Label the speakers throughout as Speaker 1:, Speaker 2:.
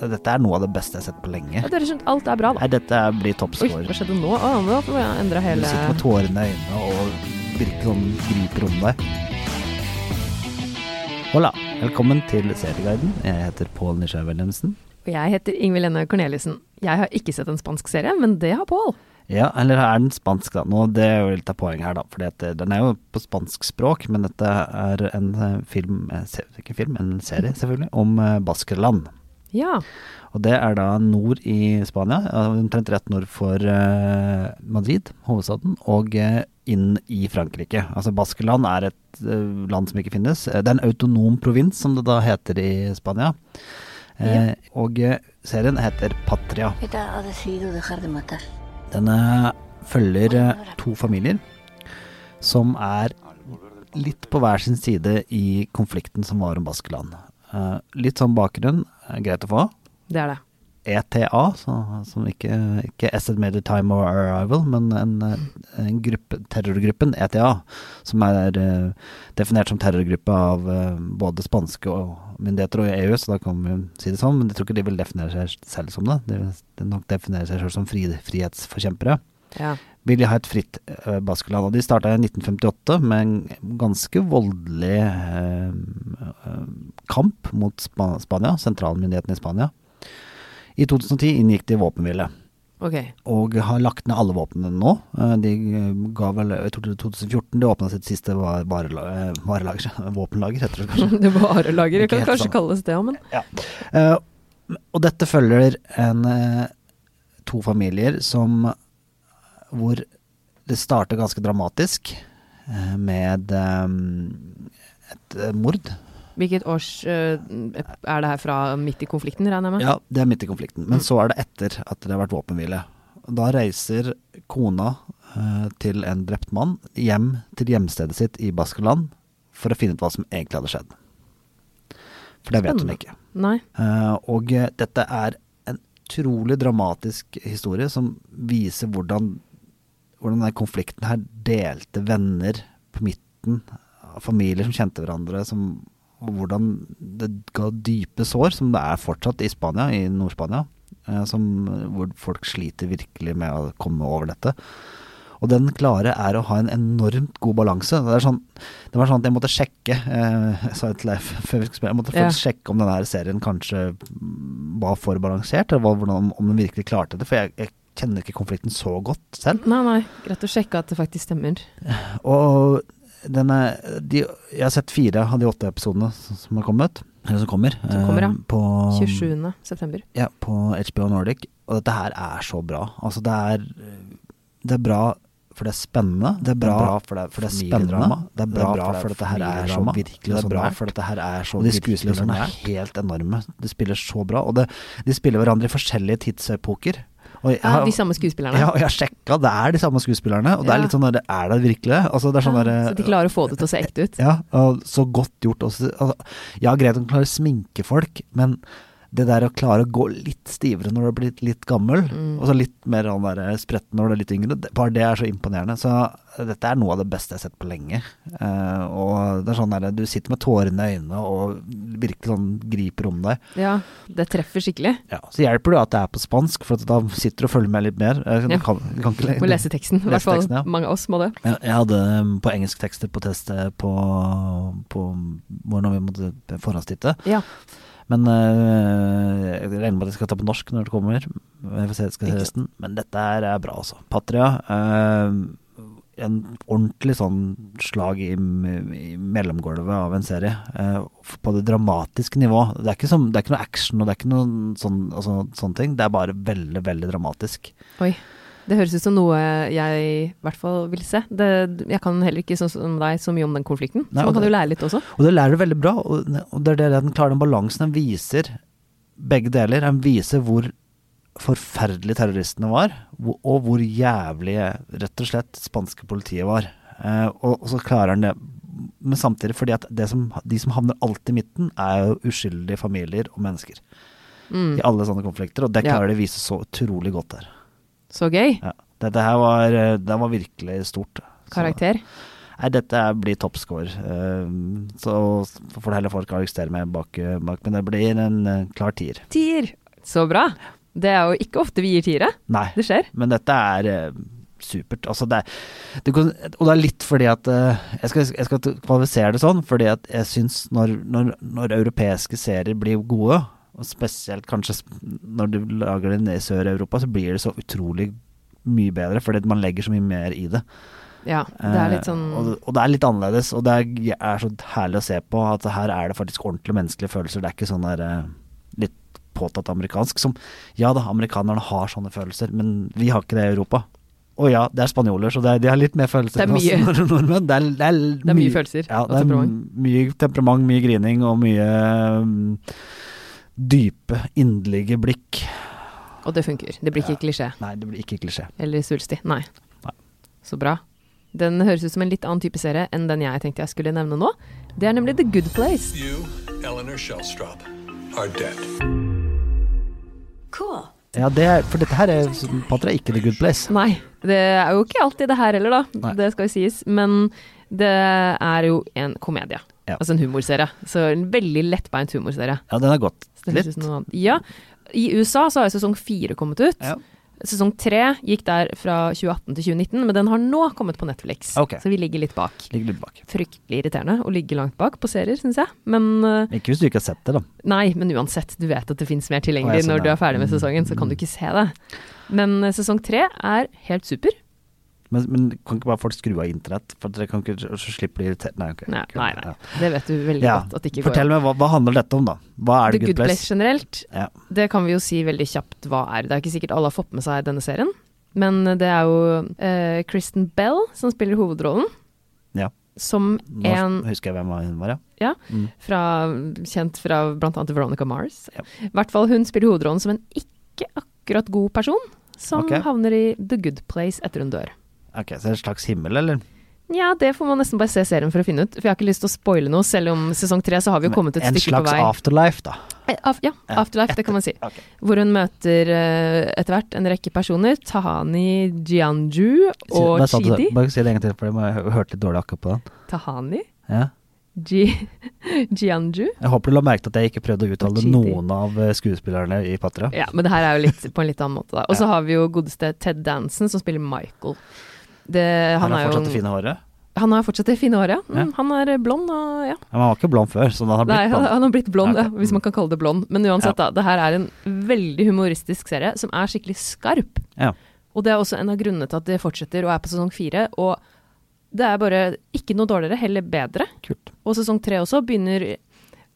Speaker 1: Dette er noe av det beste jeg har sett på lenge.
Speaker 2: Ja, dere skjønte alt er bra, da.
Speaker 1: Nei, dette blir
Speaker 2: Oi,
Speaker 1: toppscore.
Speaker 2: hva skjedde nå? Å, nå får jeg endra
Speaker 1: Du
Speaker 2: hele
Speaker 1: sitter med tårene i øynene og virkelig sånn griper om deg. Hola, velkommen til Serieguiden. Jeg heter Pål Nisjø Wilhelmsen.
Speaker 2: Og jeg heter Ingvild Enne Corneliussen. Jeg har ikke sett en spansk serie, men det har Pål.
Speaker 1: Ja, eller er den spansk da? Nå, det er jo litt av poenget her da, fordi at det- den er jo på spansk språk, men dette er en eh, film, eh, se- ikke film, en serie selvfølgelig, om eh, Baskerland.
Speaker 2: Ja.
Speaker 1: Og det er da nord i Spania, eh, omtrent rett nord for eh, Madrid, hovedstaden, og eh, inn i Frankrike. Altså Baskeland er et eh, land som ikke finnes. Eh, Det er en autonom provins, som det da heter i Spania. Eh, Og eh, serien heter Patria.
Speaker 3: ETA ha decidido dejar de matar.
Speaker 1: Den eh, følger eh, to familier som er litt på hver sin side i konflikten som var om Baskeland. Eh, Litt sånn bakgrunn, eh, greit å få.
Speaker 2: Det er det.
Speaker 1: ETA, E så, som ikke, ikke Estimated Time of Arrival, men en, eh, en gruppe, terrorgruppen ETA, som er eh, definert som terrorgruppe av eh, både spanske og myndigheter og EU, så da kan vi si det sånn, men jeg tror ikke de vil definere seg selv som det. De vil de nok definere seg selv som fri, frihetsforkjempere.
Speaker 2: Ja.
Speaker 1: Vil de ha et fritt uh, Baskeland? Og de starta i 1958 med en ganske voldelig eh, eh, kamp mot Spa Spania, sentralmyndighetene i Spania. I 2010 inngikk de våpenhvile,
Speaker 2: Ok.
Speaker 1: og har lagt ned alle våpnene nå. Eh, De eh, ga vel Jeg tror det var 2014 de åpna sitt siste va- varela- eh, varelager, våpenlager, heter det kanskje.
Speaker 2: Det varelager. Det
Speaker 1: Ikke
Speaker 2: kan
Speaker 1: helt
Speaker 2: kanskje
Speaker 1: sånn.
Speaker 2: kalles det òg, men
Speaker 1: Ja. Eh, og dette følger en, eh, to familier som Hvor det starter ganske dramatisk eh, med eh, et eh, mord.
Speaker 2: Hvilket års eh, er det her fra midt i konflikten, regner jeg med?
Speaker 1: Ja, det er midt i konflikten. Men så er det etter at det har vært våpenhvile. Da reiser kona eh, til en drept mann hjem til hjemstedet sitt i Baskeland for å finne ut hva som egentlig hadde skjedd. For det vet hun
Speaker 2: Spennende.
Speaker 1: ikke.
Speaker 2: Nei.
Speaker 1: Eh, og eh, dette er en utrolig dramatisk historie som viser hvordan, hvordan denne konflikten her delte venner på midten, familier som kjente hverandre, som, og hvordan det ga dype sår, som det er fortsatt i Spania, i Nord-Spania, eh, som, hvor folk sliter virkelig med å komme over dette. Og den klare er å ha en enormt god balanse. Det, er sånn, det var sånn at jeg måtte sjekke eh, jeg sa det til Leif før vi skulle spille, jeg måtte
Speaker 2: Ja.
Speaker 1: faktisk sjekke om denne her serien kanskje mm, var for balansert, eller hva- hvordan, om den virkelig klarte det. For jeg, jeg kjenner ikke konflikten så godt selv.
Speaker 2: Nei, nei. Greit å sjekke at det faktisk stemmer.
Speaker 1: Og denne, de, jeg har sett fire av de åtte episodene som har kommet. Eller som kommer.
Speaker 2: Som kommer, ja.
Speaker 1: eh, På,
Speaker 2: 27. september.
Speaker 1: ja, på HBO Nordic. Og dette her er så bra. Altså, det er Det er bra for det er spennende. Det er bra, for det, for det er spennende. Det er bra, for dette her er så
Speaker 4: familiedrama.
Speaker 1: virkelig
Speaker 4: Det
Speaker 1: og
Speaker 4: er
Speaker 1: så
Speaker 4: bra
Speaker 1: nært.
Speaker 4: for dette her er så
Speaker 1: Og de
Speaker 4: virkelig og så
Speaker 1: skuespillerne er
Speaker 4: nært.
Speaker 1: helt enorme. De spiller så bra. Og det, de spiller hverandre i forskjellige tidsepoker. Og jeg,
Speaker 2: Ja, Ah, de samme skuespillerne.
Speaker 1: ja, og jeg har sjekka, det er de samme skuespillerne. Og det
Speaker 2: Ja.
Speaker 1: er litt sånn der, er det virkelig det? Altså, det er sånn
Speaker 2: Ja,
Speaker 1: der,
Speaker 2: Ah, så de klarer å få det til å se ekte ut.
Speaker 1: ja, og så godt gjort også. Altså, ja, greit å klare å sminke folk, men det der å klare å gå litt stivere når du har blitt litt gammel,
Speaker 2: Mm.
Speaker 1: og så litt mer han der eh, spretten når du er litt yngre, det, bare det er så imponerende. Så eh, dette er noe av det beste jeg har sett på lenge. Eh, og det er sånn der, du sitter med tårene i øynene og virkelig sånn griper om deg.
Speaker 2: Ja, det treffer skikkelig.
Speaker 1: Ja, så hjelper det jo at det er på spansk, for at da sitter du og følger med litt mer. Eh, Du
Speaker 2: Ja.
Speaker 1: kan, du kan ikke
Speaker 2: Må lese teksten. I hvert fall
Speaker 1: teksten, ja.
Speaker 2: mange av oss må det.
Speaker 1: Jeg, jeg hadde um, på engelsktekster på test eh, på, på hvordan vi måtte forhåndstitte.
Speaker 2: Ja,
Speaker 1: Men eh, jeg regner med at jeg skal ta på norsk når det kommer. Jeg får se, skal se
Speaker 2: Ikke
Speaker 1: resten. Men dette her er bra, altså. Patria. eh, en ordentlig sånn slag i, i mellomgulvet av en serie. eh, på det dramatiske nivå. Det er ikke, som, det er ikke noe action og det er ikke noe sånn, altså, sånne ting. Det er bare veldig, veldig dramatisk.
Speaker 2: Oi. Det høres ut som noe jeg i hvert fall vil se. Det, jeg kan heller ikke, sånn som deg, så mye om den konflikten.
Speaker 1: Nei,
Speaker 2: så
Speaker 1: og
Speaker 2: man kan
Speaker 1: det-
Speaker 2: jo lære litt også.
Speaker 1: Og det lærer du veldig bra, og og det er det at den klarer den balansen. Den viser begge deler. Den viser hvor forferdelige terroristene var, hvor- og hvor jævlige rett og slett spanske politiet var. Eh, og, og så klarer han det. Men samtidig, fordi at det som, de som havner alltid i midten, er jo uskyldige familier og mennesker.
Speaker 2: Mm.
Speaker 1: I alle sånne konflikter, og det
Speaker 2: Ja.
Speaker 1: klarer de å vise så utrolig godt der.
Speaker 2: Så gøy.
Speaker 1: Ja. Dette her var, eh, det var virkelig stort. Så-
Speaker 2: Karakter.
Speaker 1: Nei, dette er- blir toppscore. eh, Så får det heller folk arrestere meg bak, bak, men det blir en eh, klar tier.
Speaker 2: Tier. Så bra. Det er jo ikke ofte vi gir tiere.
Speaker 1: Nei.
Speaker 2: Det skjer.
Speaker 1: Men dette er eh, supert. Altså det, er- det kan, og det er litt fordi at eh, Jeg skal, jeg skal kvalifisere det sånn, fordi at jeg syns når, når, når europeiske serier blir gode, og spesielt kanskje sp- når du lager det ned i Sør-Europa, så blir det så utrolig mye bedre, fordi at man legger så mye mer i det.
Speaker 2: Ja, det er litt sånn
Speaker 1: Eh, og, og det er litt annerledes, og det er, er så herlig å se på at her er det faktisk ordentlig menneskelige følelser. Det er ikke sånn der eh, litt påtatt amerikansk som Ja da, amerikanerne har sånne følelser, men vi har ikke det i Europa. Og ja, det er spanjoler, så det er, de har litt mer følelser
Speaker 2: Det er
Speaker 1: enn oss
Speaker 2: mye.
Speaker 1: nord- nordmenn. Det er, det er,
Speaker 2: Det er mye følelser
Speaker 1: Ja,
Speaker 2: og
Speaker 1: det er
Speaker 2: temperament.
Speaker 1: m- mye temperament, mye grining og mye mm, dype, inderlige blikk.
Speaker 2: Og det funker. Det blir ikke klisjé
Speaker 1: Nei, det blir ikke klisjé.
Speaker 2: eller svulstig. Nei.
Speaker 1: Nei.
Speaker 2: Så bra. Den høres ut som en litt annen type serie enn den jeg tenkte jeg skulle nevne nå. Det er nemlig The Good Place.
Speaker 4: You, Eleanor Shellstrop, are dead.
Speaker 3: Cool.
Speaker 1: Ja, det er, for dette her er, Patra, ikke The Good Place.
Speaker 2: Nei, det er jo ikke alltid det her heller, da.
Speaker 1: Nei.
Speaker 2: Det skal jo sies. Men det er jo en komedie.
Speaker 1: Ja.
Speaker 2: Altså en humorserie. Så en veldig lettbeint humorserie.
Speaker 1: Ja, den er godt.
Speaker 2: Så det høres ut som noe annet. Ja. I USA så har jo sesong fire kommet ut.
Speaker 1: Ja.
Speaker 2: Sesong tre gikk der fra 2018 til 2019, men den har nå kommet på Netflix.
Speaker 1: Ok.
Speaker 2: Så vi ligger litt bak.
Speaker 1: Ligger litt bak.
Speaker 2: Fryktelig irriterende å ligge langt bak på serier, syns jeg. Men eh,
Speaker 1: Ikke hvis du ikke har sett det, da.
Speaker 2: Nei, men uansett, du vet at det fins
Speaker 1: Å,
Speaker 2: mer
Speaker 1: jeg
Speaker 2: tilgjengelig
Speaker 1: så
Speaker 2: når
Speaker 1: det. Mm.
Speaker 2: du er ferdig med sesongen, så kan du ikke se det. Men eh, sesong tre er helt super.
Speaker 1: Men, men kan ikke bare folk skru av internett? For dere kan ikke så slipper de irritert Nei, ok.
Speaker 2: Nei,
Speaker 1: ok,
Speaker 2: nei,
Speaker 1: ja.
Speaker 2: nei. det vet du veldig
Speaker 1: Ja,
Speaker 2: godt at det ikke
Speaker 1: Fortell
Speaker 2: går.
Speaker 1: meg, hva, hva handler dette om, da? Hva er
Speaker 2: The
Speaker 1: det Good Place?
Speaker 2: generelt,
Speaker 1: Ja.
Speaker 2: det kan vi jo si veldig kjapt hva er. Det er ikke sikkert alle har fått med seg denne serien, men det er jo eh, Kristen Bell som spiller hovedrollen.
Speaker 1: Ja.
Speaker 2: Som
Speaker 1: Nå
Speaker 2: en
Speaker 1: husker jeg hvem hun var, ja.
Speaker 2: Ja,
Speaker 1: Mm.
Speaker 2: fra, kjent fra bl.a. Veronica Mars.
Speaker 1: Ja.
Speaker 2: I hvert fall hun spiller hovedrollen som en ikke akkurat god person, som
Speaker 1: Ok.
Speaker 2: havner i The Good Place etter hun dør.
Speaker 1: Ok, Så en slags himmel, eller?
Speaker 2: Ja, det får man nesten bare se serien for å finne ut, for jeg har ikke lyst til å spoile noe, selv om sesong tre så har vi jo kommet et
Speaker 1: en
Speaker 2: stykke på
Speaker 1: slags
Speaker 2: vei.
Speaker 1: afterlife, da.
Speaker 2: Eh, af- ja,
Speaker 1: Ja,
Speaker 2: Afterlife, det kan man si.
Speaker 1: Ok.
Speaker 2: Hvor hun møter eh, etter hvert en rekke personer. Tahani Jianju
Speaker 1: Si-
Speaker 2: og
Speaker 1: bare sa du det.
Speaker 2: Chidi.
Speaker 1: Bare si det en gang til, for jeg har hørt litt dårlig akkurat på den.
Speaker 2: Tahani
Speaker 1: Ja.
Speaker 2: Ji Jianju.
Speaker 1: Jeg håper du la merke til at jeg ikke prøvde å uttale
Speaker 2: Chidi.
Speaker 1: noen av eh, skuespillerne i Patra.
Speaker 2: Ja, men det her er jo litt, på en litt annen måte, da. Og så
Speaker 1: Ja.
Speaker 2: har vi jo godeste Ted Danson, som spiller Michael. Det, han,
Speaker 1: Han
Speaker 2: er
Speaker 1: har
Speaker 2: jo,
Speaker 1: fortsatt det fine håret.
Speaker 2: han har fortsatt det fine håret. ja. Mm,
Speaker 1: Ja.
Speaker 2: han er eh, blond og ja.
Speaker 1: Men han var ikke blond før, så han har
Speaker 2: Nei,
Speaker 1: blitt
Speaker 2: han,
Speaker 1: blond.
Speaker 2: han har blitt blond,
Speaker 1: Ok.
Speaker 2: ja, hvis man kan kalle det blond. Men uansett, da. Det her er en veldig humoristisk serie som er skikkelig skarp.
Speaker 1: Ja.
Speaker 2: Og det er også en av grunnene til at det fortsetter og er på sesong fire. Og det er bare ikke noe dårligere, heller bedre.
Speaker 1: Kult.
Speaker 2: Og sesong tre også begynner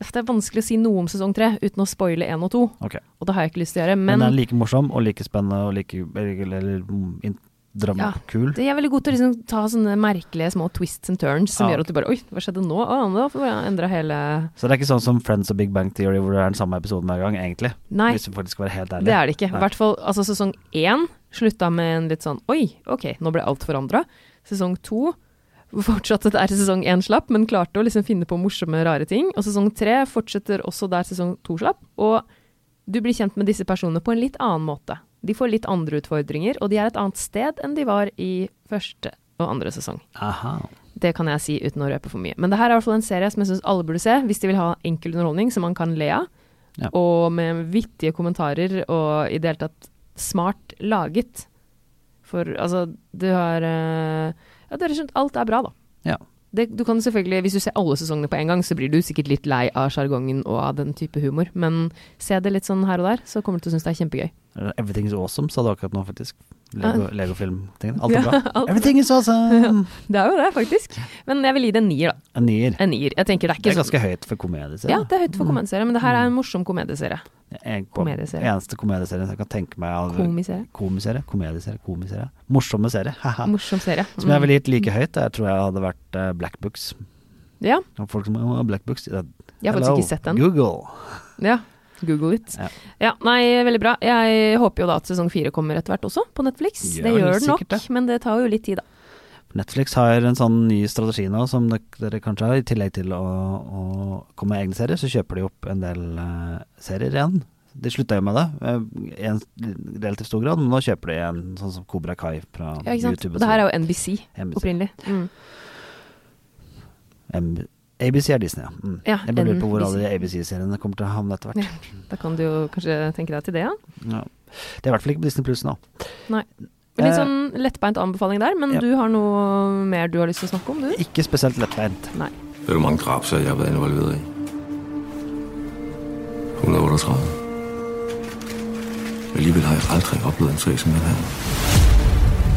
Speaker 2: Det er vanskelig å si noe om sesong tre uten å spoile én og to.
Speaker 1: Ok.
Speaker 2: Og det har jeg ikke lyst til å gjøre.
Speaker 1: Men
Speaker 2: Men,
Speaker 1: den er like morsom og like spennende og like eller, eller, mm, in- dram
Speaker 2: Ja,
Speaker 1: kul.
Speaker 2: de er veldig gode til å liksom ta sånne merkelige små twists and turns som
Speaker 1: Ja.
Speaker 2: gjør at du bare Oi, hva skjedde nå? Å, da får jeg endre hele
Speaker 1: Så det er ikke sånn som Friends og Big Bang Theory hvor det er den samme episoden hver gang, egentlig.
Speaker 2: Nei.
Speaker 1: Hvis vi faktisk skal være helt ærlige.
Speaker 2: Det er det ikke.
Speaker 1: Nei.
Speaker 2: I hvert fall altså, sesong én slutta med en litt sånn Oi, ok, nå ble alt forandra. Sesong to fortsatte der sesong én slapp, men klarte å liksom finne på morsomme, rare ting. Og sesong tre fortsetter også der sesong to slapp. Og du blir kjent med disse personene på en litt annen måte. De får litt andre utfordringer, og de er et annet sted enn de var i første og andre sesong.
Speaker 1: Aha.
Speaker 2: Det kan jeg si uten å røpe for mye. Men det her er i hvert fall en serie som jeg syns alle burde se hvis de vil ha enkel underholdning som man kan le av,
Speaker 1: Ja.
Speaker 2: og med vittige kommentarer og i det hele tatt smart laget. For altså, du har eh, Ja, dere skjønt, alt er bra, da.
Speaker 1: Ja.
Speaker 2: Det, du kan selvfølgelig, Hvis du ser alle sesongene på en gang, så blir du sikkert litt lei av sjargongen og av den type humor, men se det litt sånn her og der, så kommer du til å synes det er kjempegøy.
Speaker 1: Everything's awesome, sa du akkurat nå, faktisk. Lego, Lego-filmtingene. Alt
Speaker 2: Ja,
Speaker 1: er bra.
Speaker 2: alt-
Speaker 1: Everything is awesome!
Speaker 2: Det er jo det, faktisk. Men jeg vil gi det en nier, da.
Speaker 1: En nier.
Speaker 2: En nier. Jeg tenker det er
Speaker 1: Det
Speaker 2: ikke sånn-
Speaker 1: er ganske høyt Mm. for komedieserie.
Speaker 2: Ja, det er høyt for komedieserie, men det her er en morsom komedieserie.
Speaker 1: En kom-
Speaker 2: komedieserie.
Speaker 1: Eneste komedieserien jeg kan tenke meg av
Speaker 2: Komiserie.
Speaker 1: Komiserie, komedieserie, komiserie. Morsomme serie. Haha.
Speaker 2: Morsom serie.
Speaker 1: Som jeg ville gitt like høyt, der tror jeg hadde vært eh, Black Books.
Speaker 2: Mm. Ja,
Speaker 1: Og Folk som «Å, Black Books Jeg
Speaker 2: Jeg har faktisk ikke sett den.
Speaker 1: Google.
Speaker 2: ja. Google it.
Speaker 1: Ja.
Speaker 2: Ja. nei, veldig bra. Jeg håper jo da at sesong fire kommer etter hvert også, på Netflix.
Speaker 1: Gjør
Speaker 2: det
Speaker 1: vel
Speaker 2: gjør den nok,
Speaker 1: sikkert det.
Speaker 2: men det tar jo litt tid, da.
Speaker 1: Netflix har en sånn ny strategi nå som dere, dere kanskje har, i tillegg til å, å komme med egne serier, så kjøper de opp en del eh, serier igjen. De slutta jo med det eh, i en relativt stor grad, men nå kjøper de en sånn som Cobra Kai fra
Speaker 2: Ja, ikke sant.
Speaker 1: YouTube.
Speaker 2: Mm. Og det her er jo NBC
Speaker 1: NBC.
Speaker 2: opprinnelig. Mm.
Speaker 1: M- ABC er Disney, ja. Mm.
Speaker 2: Ja,
Speaker 1: jeg bare lurer på hvor
Speaker 2: NBC.
Speaker 1: alle de ABC-seriene kommer til å havne etter hvert.
Speaker 2: Da kan du jo kanskje tenke deg til det, ja.
Speaker 1: Ja. Det er i hvert fall ikke på Disney Pluss nå.
Speaker 2: Litt
Speaker 1: Eh,
Speaker 2: sånn lettbeint anbefaling der, men
Speaker 1: ja.
Speaker 2: du har noe mer du har lyst til å snakke om, du?
Speaker 1: Ikke spesielt lettbeint.
Speaker 5: Ved du, hvor mange drabsager jeg har været involveret i? 138. Alligevel har jeg aldrig oplevet en sag som den her.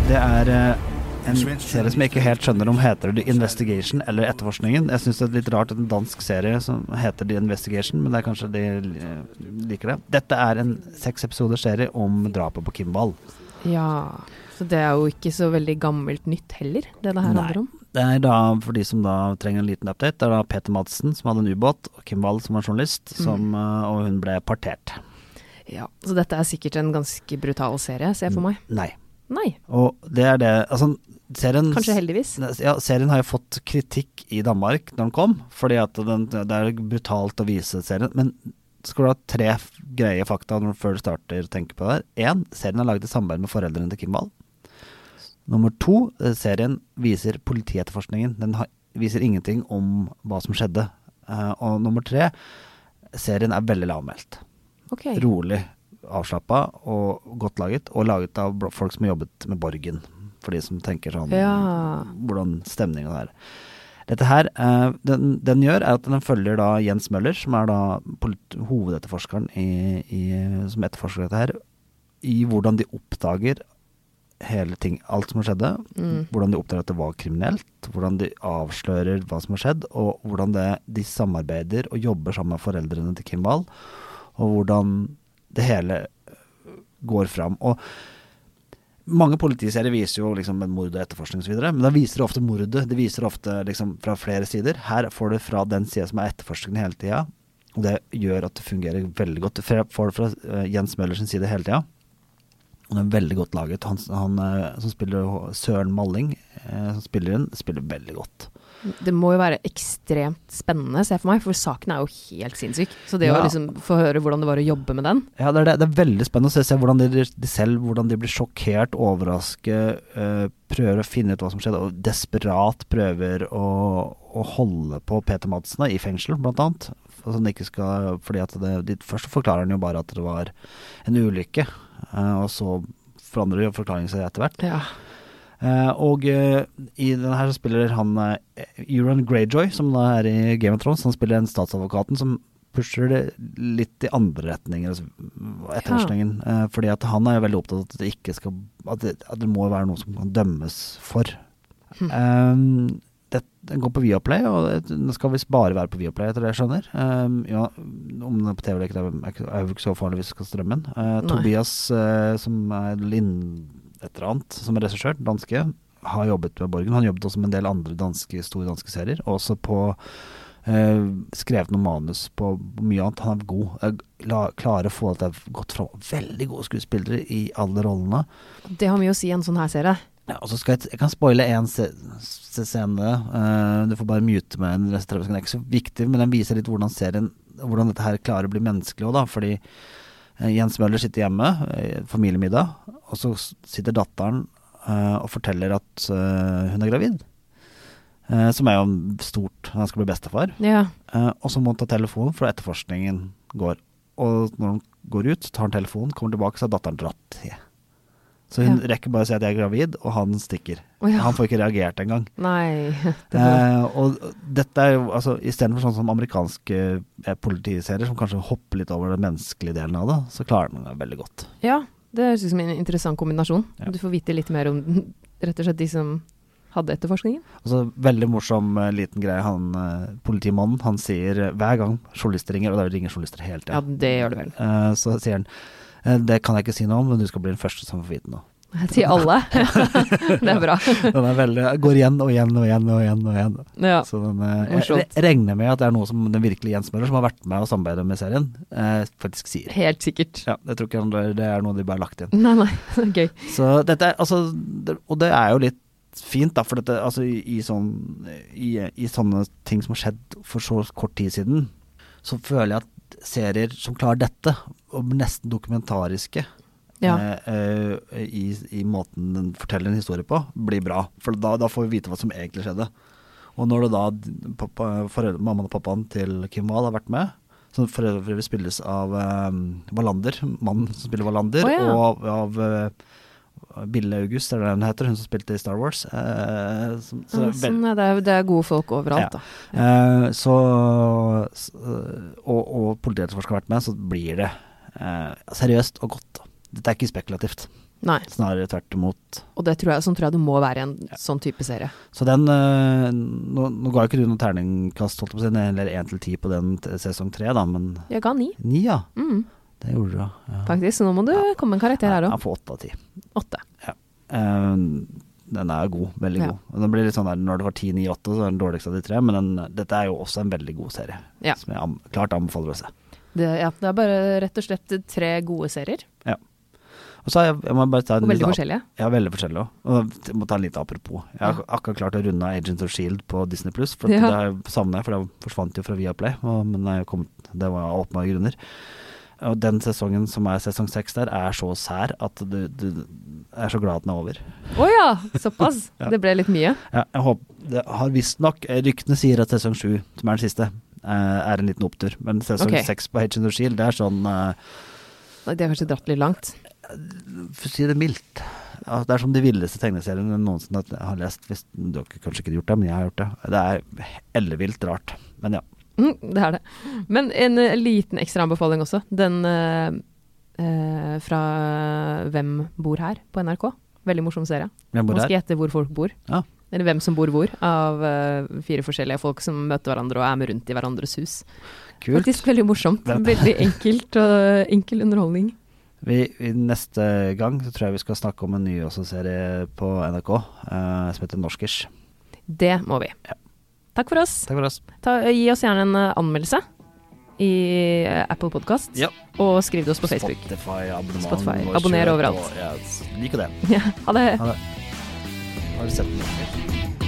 Speaker 1: Det er eh, en serie som jeg ikke helt skjønner om heter The Investigation eller Etterforskningen. Jeg syns det er litt rart at en dansk serie som heter The Investigation, men det er kanskje de eh, liker det. Dette er en seks episoder serie om drapet på Kimball.
Speaker 2: Ja. Så det er jo ikke så veldig gammelt nytt heller, det det her
Speaker 1: Nei.
Speaker 2: handler om.
Speaker 1: Det er da, for de som da trenger en liten update, det er da Peter Madsen som hadde en ubåt, og Kimball som var journalist, som, eh, og hun ble partert.
Speaker 2: Ja, Så dette er sikkert en ganske brutal serie, ser jeg for meg.
Speaker 1: Nei.
Speaker 2: Nei,
Speaker 1: Og det er det Altså, serien
Speaker 2: kanskje heldigvis.
Speaker 1: Ja, serien har jo fått kritikk i Danmark da den kom, fordi at den, det er brutalt å vise serien. Men skal du ha tre f- greie fakta når du før du starter å tenke på det her? Én, serien er laget i samarbeid med foreldrene til Kimball. Nummer to, eh, serien viser politietterforskningen. Den har, viser ingenting om hva som skjedde. Eh, og nummer tre, serien er veldig lavmælt.
Speaker 2: Ok.
Speaker 1: Rolig, avslappa og godt laget. Og laget av bl- folk som har jobbet med Borgen, for de som tenker sånn
Speaker 2: Ja.
Speaker 1: hvordan stemninga er. Dette her, eh, den, den gjør er at den følger da Jens Møller, som er da polit hovedetterforskeren i, i, som etterforsker dette her, i hvordan de oppdager hele ting, alt som skjedde.
Speaker 2: Mm.
Speaker 1: Hvordan de oppdager at det var kriminelt, hvordan de avslører hva som har skjedd, og hvordan det, de samarbeider og jobber sammen med foreldrene til Kim Wahl, og hvordan det hele går fram. Og mange politiserier viser jo liksom en mord og etterforskning osv., men da viser det ofte mordet. Det viser ofte liksom fra flere sider. Her får du fra den sida som er etterforskende hele tida. Og det gjør at det fungerer veldig godt. Du får får det fra eh, Jens Møllers side hele tida. Og den er veldig godt laget. Han, han eh, som spiller H- Søren Malling, eh, som spiller inn, spiller veldig godt.
Speaker 2: Det må jo være ekstremt spennende, ser jeg for meg, for saken er jo helt sinnssyk. Så det å
Speaker 1: Ja.
Speaker 2: liksom få høre hvordan det var å jobbe med den
Speaker 1: Ja, det er, det, det er veldig spennende å se, se hvordan de, de selv hvordan de blir sjokkert, overrasket, eh, prøver å finne ut hva som skjedde, og desperat prøver å, å holde på Peter Madsen da, i fengsel, blant annet. For at han ikke skal, fordi at det, de, først forklarer han jo bare at det var en ulykke, eh, og så forandrer jo forklaringen seg etter hvert.
Speaker 2: Ja.
Speaker 1: Eh, og eh, i denne her så spiller han eh, Euron Greyjoy, som da er i Game of Thrones. Han spiller den statsadvokaten som pusher det litt i andre retninger, altså mm, etterforskningen. Eh, fordi at han er jo veldig opptatt av at det ikke skal At det, at det må være noe som kan dømmes for. Eh, det, den går på Viaplay, og den skal visst bare være på Viaplay, etter det jeg skjønner. Eh, ja, om den er på TV eller ikke, det er ikke- er jo ikke så farlig hvis du skal strømme den. Eh,
Speaker 2: Nei.
Speaker 1: Tobias, eh, som er Lind et eller annet, som er regissør, danske, har jobbet med Borgen. Han jobbet også med en del andre danske, store danske serier, og også på eh, skrevet noen manus på mye annet. Han er god. Eh, La, klarer å få at det er godt fra veldig gode skuespillere i alle rollene.
Speaker 2: Det har mye å si i en sånn her serie.
Speaker 1: Ja, og så skal jeg, jeg kan spoile én scene. eh, du får bare mute meg den resten av 30 sekunder. Det er ikke så viktig, men den viser litt hvordan serien Hvordan dette her klarer å bli menneskelig òg, da. Fordi eh, Jens Møller sitter hjemme, eh, familiemiddag, og så s- sitter datteren eh, og forteller at eh, hun er gravid. Eh, som er jo stort. Han skal bli bestefar.
Speaker 2: Ja.
Speaker 1: Eh, og så må han ta telefonen, for etterforskningen går. Og når han går ut, tar han telefonen, kommer tilbake, så har datteren dratt. Ja. Så hun rekker bare å si at jeg er gravid, og han stikker.
Speaker 2: Å ja.
Speaker 1: Han får ikke reagert engang.
Speaker 2: Nei.
Speaker 1: Eh, og dette er jo altså istedenfor sånn som amerikanske eh, politiserier, som kanskje hopper litt over den menneskelige delen av det, så klarer den det veldig godt.
Speaker 2: Ja, det høres ut som en interessant kombinasjon.
Speaker 1: Ja.
Speaker 2: Du får vite litt mer om rett og slett de som hadde etterforskningen.
Speaker 1: Og så Altså, veldig morsom eh, liten greie han eh, politimannen, han sier eh, hver gang journalister ringer, og det ringer journalister hele
Speaker 2: Ja,
Speaker 1: tida,
Speaker 2: det gjør det vel.
Speaker 1: eh, så sier han eh, det kan jeg ikke si noe om, men du skal bli den første som får vite noe.
Speaker 2: Til alle. det er bra.
Speaker 1: Den er veldig, går igjen og igjen og igjen og igjen. Og igjen.
Speaker 2: Ja.
Speaker 1: Så den, eh, jeg
Speaker 2: Morsomt.
Speaker 1: re- regner med at det er noe som den virkelig Jens Møller, som har vært med og samarbeidet med serien, eh, faktisk sier.
Speaker 2: Helt sikkert.
Speaker 1: Ja, jeg tror ikke han, det er noe de bare har lagt inn.
Speaker 2: Nei, nei. Gøy.
Speaker 1: Så dette er, altså, det- og det er jo litt fint, da, for dette, altså, i, i, sånn, i, i sånne ting som har skjedd for så kort tid siden, så føler jeg at serier som klarer dette, og nesten dokumentariske,
Speaker 2: Ja.
Speaker 1: eh, eh, i, i måten den forteller en historie på, blir bra. For da, da får vi vite hva som egentlig skjedde. Og når det da pappa, foreldre, mammaen og pappaen til Kim Wahl har vært med, som for øvrig spilles av eh, Wallander, mannen som spiller Wallander,
Speaker 2: Å, ja.
Speaker 1: og av, av eh, Bille August, er det hun heter, hun som spilte i Star Wars. eh, som, så det
Speaker 2: Ja,
Speaker 1: er vel-
Speaker 2: sånn, ja, det, er, det er gode folk
Speaker 1: Ja.
Speaker 2: overalt, da.
Speaker 1: Eh, så, s- eh, og, og politietterforsker har vært med, så blir det eh, seriøst og godt. Dette er ikke spekulativt,
Speaker 2: Nei,
Speaker 1: snarere tvert imot.
Speaker 2: og det tror jeg, sånn tror jeg det må være i en sånn type serie.
Speaker 1: Så den eh, Nå, nå ga jo ikke du noen terningkast, holdt jeg på å si, eller én til ti på den t- sesong tre, da, men
Speaker 2: Jeg ga ni,
Speaker 1: ni, ja.
Speaker 2: mm,
Speaker 1: Det gjorde du, ja. ja.
Speaker 2: faktisk. Så nå må du komme med en karakter her
Speaker 1: Nei,
Speaker 2: òg.
Speaker 1: Han får åtte av ti.
Speaker 2: Åtte.
Speaker 1: Eh, den er god, veldig
Speaker 2: Ja.
Speaker 1: god. Og den blir litt sånn der, Når det var 10-9-8, så er den dårligste av de tre, men den, dette er jo også en veldig god serie.
Speaker 2: Ja.
Speaker 1: Som jeg am klart anbefaler å se.
Speaker 2: Det, ja, det er bare rett og slett tre gode serier,
Speaker 1: Og så har jeg, jeg må bare ta en
Speaker 2: og veldig
Speaker 1: liten-
Speaker 2: forskjellige.
Speaker 1: Ja, veldig forskjellig òg. Og jeg må ta en liten apropos. Jeg har
Speaker 2: Ja.
Speaker 1: akkurat klart å runde av Agents of Shield E på Disney Pluss, for
Speaker 2: Ja.
Speaker 1: det har jeg savna jeg, for det forsvant jo fra Viaplay. Og, men jeg kom, det var av åpenbare grunner. Og den sesongen som er sesong seks der, er så sær at du, du er så glad at den er over.
Speaker 2: Å ja, såpass. Det ble litt mye.
Speaker 1: Ja, jeg håper, det har visstnok eh, Ryktene sier at sesong sju, som er den siste, eh, er en liten opptur. Men sesong
Speaker 2: Ok.
Speaker 1: seks på Agents of Shield, det er sånn eh,
Speaker 2: Nei, De har kanskje dratt litt langt.
Speaker 1: for å si det mildt. Ja, det er som de villeste tegneseriene jeg noensinne har lest. Hvis, du har ikke- kanskje ikke gjort det, men jeg har gjort det. Det er ellevilt rart. Men ja.
Speaker 2: Mm, det er det. Men en eh, liten ekstra anbefaling også. Den eh, eh, fra Hvem bor her? på NRK. Veldig morsom serie.
Speaker 1: Jeg bor
Speaker 2: Man
Speaker 1: her.
Speaker 2: skal gjette hvor folk bor.
Speaker 1: Ja.
Speaker 2: Eller hvem som bor hvor, av eh, fire forskjellige folk som møter hverandre og er med rundt i hverandres hus.
Speaker 1: Kult.
Speaker 2: Faktisk veldig morsomt.
Speaker 1: Hvem-
Speaker 2: Veldig enkelt og eh, enkel underholdning.
Speaker 1: Vi, vi, neste gang så tror jeg vi skal snakke om en ny også serie på NRK eh, som heter Norskers.
Speaker 2: Det må vi. Takk for oss.
Speaker 1: Takk for oss.
Speaker 2: Ta, gi oss gjerne en eh, anmeldelse i eh, Apple Podkast,
Speaker 1: Ja.
Speaker 2: og skriv det oss på Facebook.
Speaker 1: Spotify, abonnement.
Speaker 2: Spotify.
Speaker 1: og
Speaker 2: Abonner
Speaker 1: kjøp
Speaker 2: overalt.
Speaker 1: og- Ja, liker det.
Speaker 2: Ja, ha det.
Speaker 1: Ha det. Har du sett den?